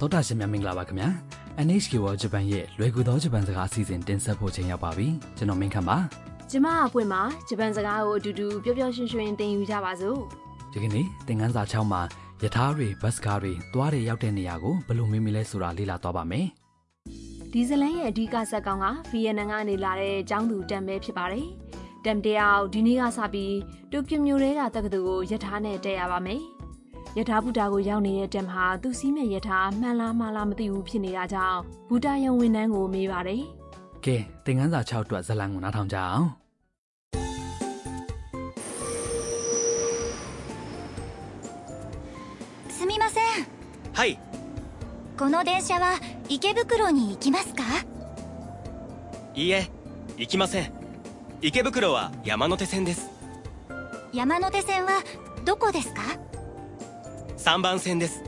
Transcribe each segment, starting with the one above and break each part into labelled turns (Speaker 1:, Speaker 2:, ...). Speaker 1: တောတာရှင်များမင်္ဂလာပါခင်ဗျာ NHK World Japan ရဲ့လွယ်ကူသောဂျပန်စကားအစီအစဉ်တင်ဆက်ဖို့ချိန်ရောက်ပါပြီကျွန်တော်မင်းခမ်းပါ
Speaker 2: ကျမအပွင့်မှာဂျပန်စကားကိုအတူတူပျော်ပျော်ရွှင်ရွှင်သင်ယူကြပါစို့
Speaker 1: ဒီကနေ့သင်ခန်းစာ6မှာယထာတွေဘတ်စကားတွေသွားတွေရောက်တဲ့နေရာကိုဘယ်လိုမေးမိလဲဆိုတာလေ့လာသွားပါမယ်
Speaker 2: ဒီဇလန်ရဲ့အဓိကဇာတ်ကောင်ကဗီယက်နမ်ကနေလာတဲ့ចောင်းသူတမ်ပဲဖြစ်ပါတယ်တမ်တယောက်ဒီနေ့ကစပြီးတိုကျိုမြို့ထဲကတက္ကသိုလ်ကိုယထာနဲ့တက်ရပါမယ်ယထာဘူတာကိုရောက်နေတဲ့တမ်ဟာသူစီးမဲ့ယထာမှန်လားမှားလားမသိဘူးဖြစ်နေတာကြောင့်ဘူတာယုံဝန်နှန်းကိုမေးပါတယ်
Speaker 1: ကဲသင်ခန်းစာ6အတွက်ဇတ်လံကိုနားထောင်ကြအောင်
Speaker 3: すみません
Speaker 4: はい
Speaker 3: この電車は池袋に行きますか
Speaker 4: いいえ行きません池袋は山手線です
Speaker 3: 山手線はどこですか
Speaker 4: 3番線です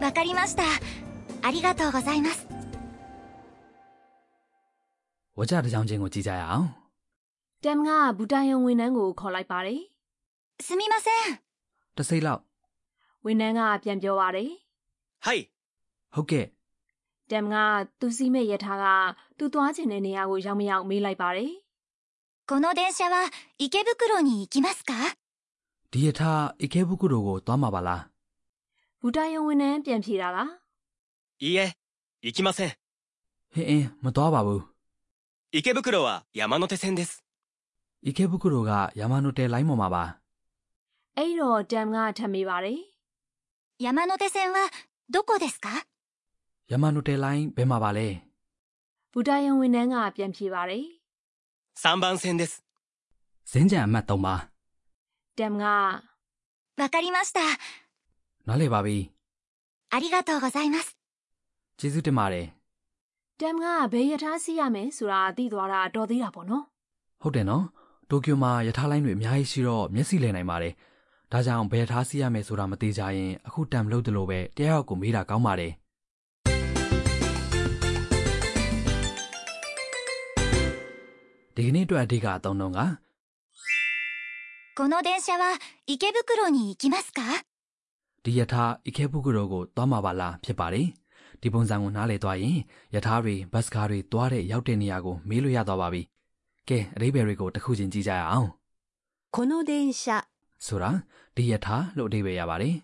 Speaker 3: わかりましたありがとうございます
Speaker 1: ဝါကြတစ်ချောင်းချင်းကိုကြည့်ကြရအောင်
Speaker 2: တမ်ကဘူတာယုံဝန်နှန်းကိုခေါ်လိုက်ပါတယ်
Speaker 3: すみません
Speaker 1: တစ်စိတ်လောက်
Speaker 2: ဝန်နှန်းကပြန်ပြောပါတယ်
Speaker 4: はい
Speaker 1: ဟုတ်ကဲ့
Speaker 2: တမ်ကသူစီးမဲ့ရထားကသူသွားချင်တဲ့နေရာကိုရောက်မရောက်မေးလိုက်ပါတယ်
Speaker 3: この電車は池袋に行きますか
Speaker 1: ဒီယထာအခဲဘူးကုတို့ကိုသွားမှာပါလား
Speaker 2: ။ဘူတာယုံဝန်နှန်းပြန်ဖြေတာက
Speaker 4: いいえ行きません
Speaker 1: ဟင်းအင်းမသွားပါဘူး
Speaker 4: 池袋は山手線です
Speaker 1: အခဲဘူးကုတို့ကယာမနိုတယ်လိုင်းပေါ်မှာပါ
Speaker 2: အဲ့တော့တမ်ကထပ်မေးပါတယ်
Speaker 3: 山手線はどこですか
Speaker 1: ယာမနိုတယ်လိုင်းဘယ်မှာပါလဲ
Speaker 2: ။ဘူတာယုံဝန်နှန်းကပြန်ဖြေပါတယ်
Speaker 4: 3番線です
Speaker 1: ဇင်းကြံအမှတ်3ပါ
Speaker 2: ။တမ်က
Speaker 3: わかりました
Speaker 1: နားလည်ပါပြီ
Speaker 3: ありがとうございます
Speaker 1: ကျေးဇူးတင်ပါတယ်
Speaker 2: တမ်ကဘယ်ရထားစီးရမယ်ဆိုတာသိသွားတာတော်သေးတာပေါ့နော်
Speaker 1: ဟုတ်တယ်နော်တိုကျိုမှာယထာလိုင်းတွေအများကြီးရှိတော့မျက်စိလည်နိုင်ပါတယ်ဒါကြောင့်ဘယ်ယထာစီးရမယ်ဆိုတာမသေးကြရင်အခုတမ်လို့တလို့ပဲတရားရောက်ကိုမေးတာကောင်းပါတယ်ဒီကနေ့အတွက်အဓိကအသုံးတော့က
Speaker 3: この電車は池袋に行きますか
Speaker 1: ဒီယထာအခဲပုဂ္ဂိုလ်ကိုသွားမှာပါလားဖြစ်ပါတယ်ဒီပုံစံကိုနားလည်သွားရင်ယထာတွေဘတ်စကားတွေသွားတဲ့ရောက်တဲ့နေရာကိုမေးလို့ရသွားပါပြီကဲအရေးပဲတွေကိုတစ်ခုချင်းကြည့်ကြရအောင်
Speaker 5: この電車、
Speaker 1: ဆိုတာဒီယထာလို့အဓိပ္ပာယ်ရပါတယ်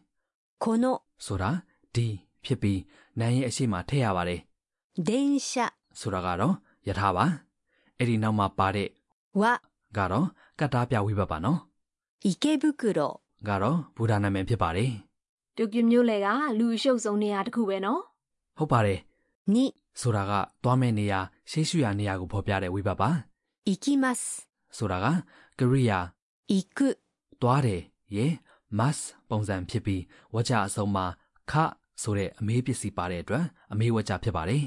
Speaker 5: この
Speaker 1: ဆိုတာဒီဖြစ်ပြီးနာမ်ရဲ့အရှိမထည့်ရပါတယ်
Speaker 5: 電車
Speaker 1: ဆိုတာကတော့ယထာပါအဲ့ဒီနောက်မှာပါတဲ့
Speaker 5: は
Speaker 1: ကတော့ကတ္တာပြဝိဘတ်ပါနော်
Speaker 5: 池袋、
Speaker 1: ကတော့ဘူဒာနာမည်ဖြစ်ပါတယ်
Speaker 2: ။တိုကျိုမြို့လယ်ကလူအရှုပ်ဆုံးနေရာတစ်ခုပဲနော်
Speaker 1: ဟုတ်ပါတယ်
Speaker 5: に
Speaker 1: ဆိုတာကသွားမယ့်နေရာရှေးရှုရာနေရာကိုဖော်ပြတဲ့ဝိဘတ်ပါ
Speaker 5: 行きます。
Speaker 1: ဆိုတာကကရိယာ
Speaker 5: 行く、
Speaker 1: သွားတယ်ရေ must ပုံစံဖြစ်ပြီးဝကြအဆုံးမှာခဆိုတဲ့အမေးပစ္စည်းပါတဲ့အတွက်အမေးဝကြဖြစ်ပါတယ်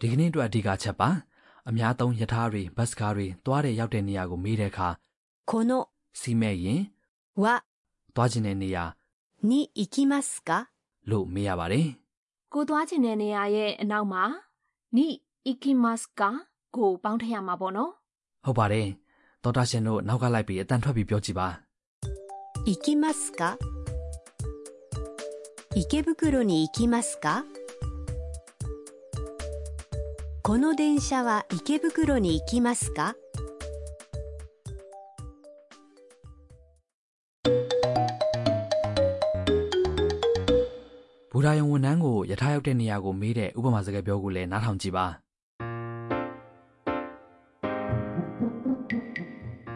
Speaker 1: ဒီကနေ့အတွက်အဓိကချက်ပါအများသုံးယထာတွေဘတ်စကားတွေသွားတဲ့ရောက်တဲ့နေရာကိုမေးတဲ့အခါ
Speaker 5: この
Speaker 1: စီမဲ့ရင်
Speaker 5: は
Speaker 1: သွားခြင်းတဲ့နေရာ
Speaker 5: に行きますか
Speaker 1: လို့မေးရပါတယ်
Speaker 2: ။ကိုသွားချင်တဲ့နေရာရဲ့အနောက်မှာနိအီကီမတ်ကကိုပေါင်းထည့်ရမှာပေါ့နော်
Speaker 1: ဟုတ်ပါတယ်သောတာရှင်တို့နောက်ကလိုက်ပြီးအတန်ထွက်ပြီးပြောကြည့်ပါ
Speaker 5: 行きますか池袋に行きますかこの電車は池袋に行きますか
Speaker 1: ဘူရာယုံဝန်နှန်းကိုယထာရောက်တဲ့နေရာကိုမေးတဲ့ဥပမာစကားပြောကိုလည်းနားထောင်ကြည့်ပါ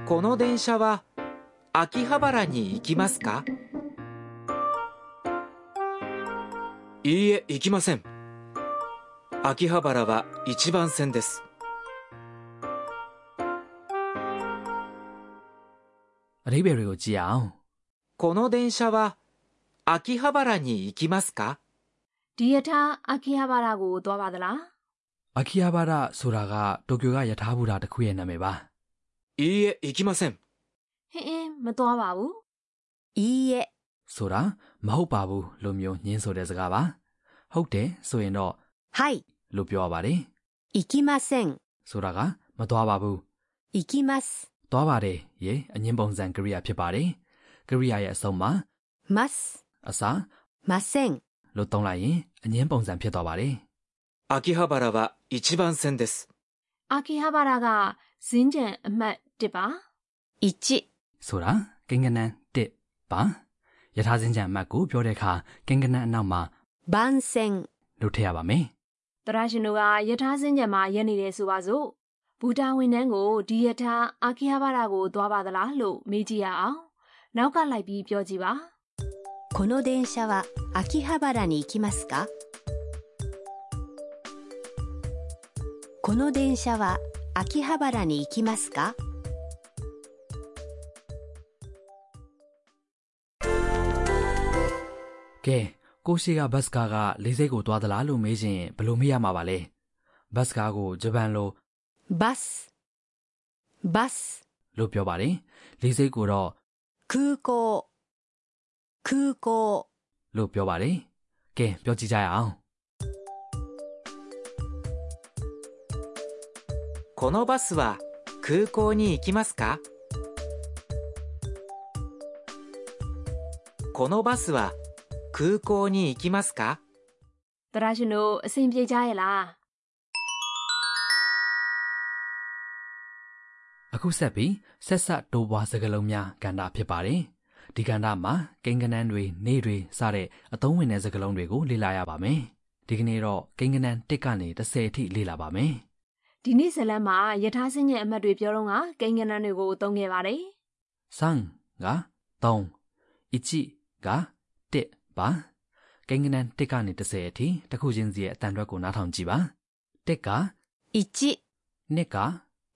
Speaker 6: この電車は秋葉原に行きますかいいえ行きません秋葉原は一番線です
Speaker 1: အဓိပ္ပာယ်တွေကိုကြည့်ရအောင်
Speaker 6: この電車は秋葉原に行きますか
Speaker 2: ။ဒီရထားအခိဟာဘာရာကိုသွားပါသလား။
Speaker 1: အခိယဘာရဆိုတာကတိုကျိုကယထာဘူရာတစ်ခုရဲ့နာမည်ပါ
Speaker 6: いいえ行きません
Speaker 2: ဟင်းအင်းမသွားပါဘူး
Speaker 5: いいえ、
Speaker 1: ဆိုတာမဟုတ်ပါဘူးလို့မျိုးညင်းဆိုတဲ့စကားပါဟုတ်တယ်ဆိုရင်တော့
Speaker 5: はい、
Speaker 1: လို့ပြောရပါတယ်
Speaker 5: 行きません。
Speaker 1: ဆိုတာကမသွားပါဘူး
Speaker 5: 行きます。
Speaker 1: သွားပါတယ်ရေအငင်းပုံစံကရိယာဖြစ်ပါတယ်ကရိယာရဲ့အဆုံးမှာ
Speaker 5: ます。
Speaker 1: အစား
Speaker 5: ません。
Speaker 1: လို့သုံးလိုက်ရင်အငင်းပုံစံဖြစ်သွားပါတယ်
Speaker 6: 秋葉原は1番線です。
Speaker 2: အာကီဟာဘာရာကဇင်းကြံအမှတ်1ပါ
Speaker 5: 1、
Speaker 1: ။ဆိုတာကိငကနန်တစ်ပါယထာစင်ကြံအမှတ်ကိုပြောတဲ့အခါကိငကနန်အနောက်မှာ
Speaker 5: 番線。
Speaker 1: လုပ်ထည့်ရပါမယ်
Speaker 2: တရရှင်တို့ကယထာဇင်းကြံမှာရက်နေတယ်ဆိုပါစို့ဘူတာဝန်ထမ်းကိုဒီယထာအာကီဟာဘာရာကိုသွားပါသလားလို့မေးကြည့်ရအောင်နောက်ကလိုက်ပြီးပြောကြည့်ပါ
Speaker 5: この電車は秋葉原に行きますかこの電車は秋葉原に行きますか
Speaker 1: ။ကဲကိုရှိကဘတ်စကားကလေးစိတ်ကိုသွားသလားလို့မေးရင်ဘယ်လိုမေးရမှာပါလဲ။ဘတ်စကားကိုဂျပန်လို
Speaker 5: バス、バス、
Speaker 1: လို့ပြောပါတယ်။လေးစိတ်ကိုတော့
Speaker 5: 空港、空港、
Speaker 1: လို့ပြောပါတယ်။ကဲပြောကြည့်ကြရအောင်
Speaker 6: このバスは空港に行きますかこのバスは空港に行きますか
Speaker 2: တရရှင်တို့အဆင်ပြေကြရဲ့လား
Speaker 1: ။အခုဆက်ပြီးဆက်ဆက်တိုးပွားစကားလုံးများကဏ္ဍဖြစ်ပါတယ်။ဒီကဏ္ဍမှာကိန်းကနန်းတွေနေတွေစတဲ့အသုံးဝင်တဲ့စကားလုံးတွေကိုလေ့လာရပါမယ်။ဒီကနေ့တော့ကိန်းကနန်း1ကနေ10အထိလေ့လာပါမယ်
Speaker 2: ဒီနေ့ဇတ်လန်းမှာယထာစင်းရဲ့အမှတ်တွေပြောတော့ကကိန်းကနန်းတွေကိုသုံးခဲ့ပါတယ်
Speaker 1: ။3က3 1က1ပါကိန်းကနန်း1ကနေ10အထိတစ်ခုချင်းစီရဲ့အတန်အတွက်ကိုနားထောင်ကြည့်ပါ။1က2
Speaker 5: 1、
Speaker 1: က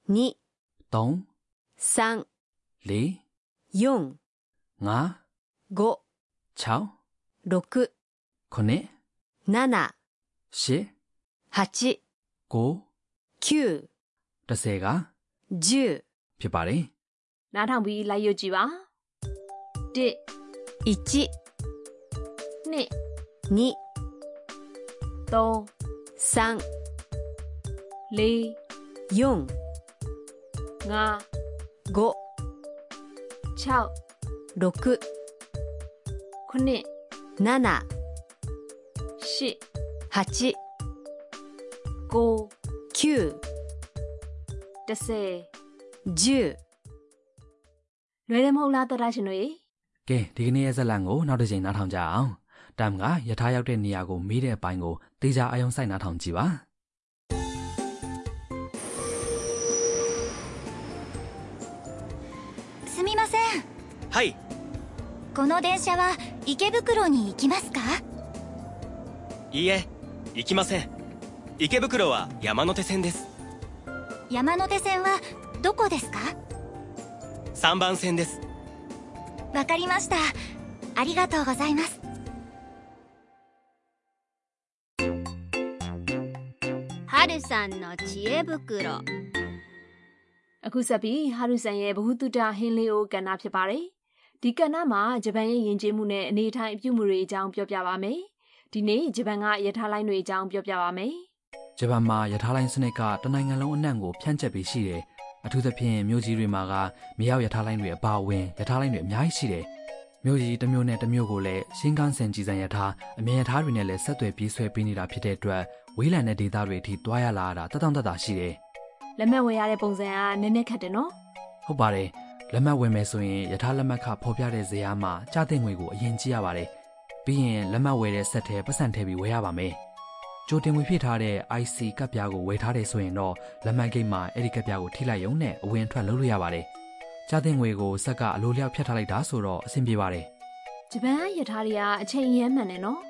Speaker 5: 2、
Speaker 1: 3
Speaker 5: 3、
Speaker 1: 4
Speaker 5: 4、
Speaker 1: 5
Speaker 5: 5、
Speaker 1: 6
Speaker 5: 6、
Speaker 1: 9
Speaker 5: 7、
Speaker 1: 10
Speaker 5: 8、
Speaker 1: 9
Speaker 5: 9、
Speaker 1: 10က
Speaker 5: 10、
Speaker 1: ဖြစ်ပါတယ်
Speaker 2: နားထောင်ပြီးလိုက်ရွတ်ကြည့်ပါ1
Speaker 5: 1、
Speaker 2: 2
Speaker 5: 2、
Speaker 2: 3
Speaker 5: 3、
Speaker 2: 4
Speaker 5: 4、
Speaker 2: 5
Speaker 5: 5、
Speaker 2: 6
Speaker 5: 6、
Speaker 2: 9
Speaker 5: 7、
Speaker 2: 8
Speaker 5: 8、
Speaker 2: 9
Speaker 5: 9、
Speaker 2: 10
Speaker 5: 10
Speaker 2: လွယ်တယ်မဟုတ်လားတရရှင်တို့ရေ
Speaker 1: ကဲဒီကနေ့ရဲ့ဇာတ်လမ်းကိုနောက်တစ်ချိန်နားထောင်ကြအောင်တမ်ကယထာရောက်တဲ့နေရာကိုမေးတဲ့အပိုင်းကိုတေချာအယုံဆိုင်နားထောင်ကြည့်ပါ
Speaker 3: すみません
Speaker 4: はい
Speaker 3: この電車は池袋に行きますか
Speaker 4: いいえ行きません池袋は山手線です
Speaker 3: 山手線はどこですか
Speaker 4: 3番線です
Speaker 3: わかりましたありがとうございますはるさんの知恵袋
Speaker 2: အခုဆက်ပြီးဟာရုဆန်ရဲ့ဘ ഹു တုတဟင်းလေးကိုကဏ္ဍဖြစ်ပါတယ်ဒီကဏ္ဍမှာဂျပန်ရဲ့ယဉ်ကျေးမှုနဲ့အနေအထိုင်အပြုအမူတွေအကြောင်းပြောပြပါမယ်ဒီနေ့ဂျပန်ကယထာလိုင်းတွေအကြောင်းပြောပြပါမယ်
Speaker 1: ဂျပန်မှာယထာလိုင်းစနစ်ကတစ်နိုင်ငံလုံးအနှံ့ကိုဖြန့်ကျက်ပြီးရှိတယ်အထူးသဖြင့်မြို့ကြီးတွေမှာကမြေအောက်ယထာလိုင်းတွေအပါအဝင်ယထာလိုင်းတွေအများကြီးရှိတယ်မြို့ကြီးတစ်မြို့နဲ့တစ်မြို့ကိုလည်းရှင်းကန်ဆန်ကြည်စံယထာအမြင်ယထာတွေနဲ့လည်းဆက်သွယ်ပြေးဆွဲပေးနေတာဖြစ်တဲ့အတွက်ဝေးလံတဲ့ဒေသတွေအထိတွားရလာရတာတက်တောင့်တက်တာရှိတယ်
Speaker 2: လက်မှတ်ဝယ်ရတဲ့ပုံစံကနည်းနည်းခက်တယ်နော်
Speaker 1: ဟုတ်ပါတယ်လက်မှတ်ဝင်မယ်ဆိုရင်ယထာလက်မှတ်ခဖော်ပြတဲ့ဇာတ်မှာကြားတဲ့ငွေကိုအရင်ကြည့်ရပါတယ်ပြီးရင်လက်မှတ်ဝယ်တဲ့ဆက်ထဲပတ်စံထည့်ပြီးဝယ်ရပါမယ်ကြိုတင်ဝင်ဖြစ်ထားတဲ့ IC ကပ်ပြားကိုဝယ်ထားတယ်ဆိုရင်တော့လက်မှတ်ဂိတ်မှာအဲ့ဒီကပ်ပြားကိုထိလိုက်ရုံနဲ့အဝင်အထွက်လုပ်လို့ရပါတယ်ကြားတဲ့ငွေကိုဆက်ကအလိုလျောက်ဖြတ်ထားလိုက်တာဆိုတော့အဆင်ပြေပါတယ်
Speaker 2: ဂျပန်ကရထားတွေကအချိန်ရမ်းမှန်တယ်နော်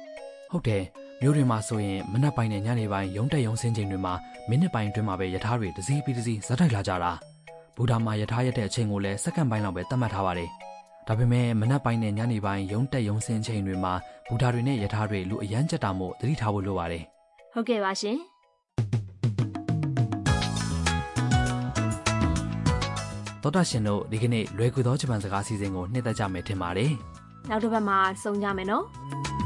Speaker 1: ဟုတ်တယ်မျိုးတွေမှာဆိုရင်မနက်ပိုင်းနဲ့ညနေပိုင်းရုံတက်ရုံဆင်းချိန်တွေမှာမိနစ်ပိုင်းအတွင်းမှာပဲယထာတွေတစ်စီးပြီးတစ်စီးဇက်တိုက်လာကြတာဘူတာမှာယထာရက်တဲ့အချိန်ကိုလည်းစက္ကန့်ပိုင်းလောက်ပဲသတ်မှတ်ထားပါတယ်ဒါပေမဲ့မနက်ပိုင်းနဲ့ညနေပိုင်းရုံတက်ရုံဆင်းချိန်တွေမှာဘူတာတွေနဲ့ယထာတွေလူအရန်ကြက်တာမို့သတိထားဖို့လိုပါတယ်
Speaker 2: ဟုတ်ကဲ့ပါရှင်
Speaker 1: သောတာရှင်တို့ဒီကနေ့လွယ်ကူသောဂျပန်စကားအစီအစဉ်ကိုနှက်သက်ကြမယ်ထင်ပါတယ်
Speaker 2: နောက်တစ်ပတ်မှာစုံကြမယ်နော်
Speaker 1: ။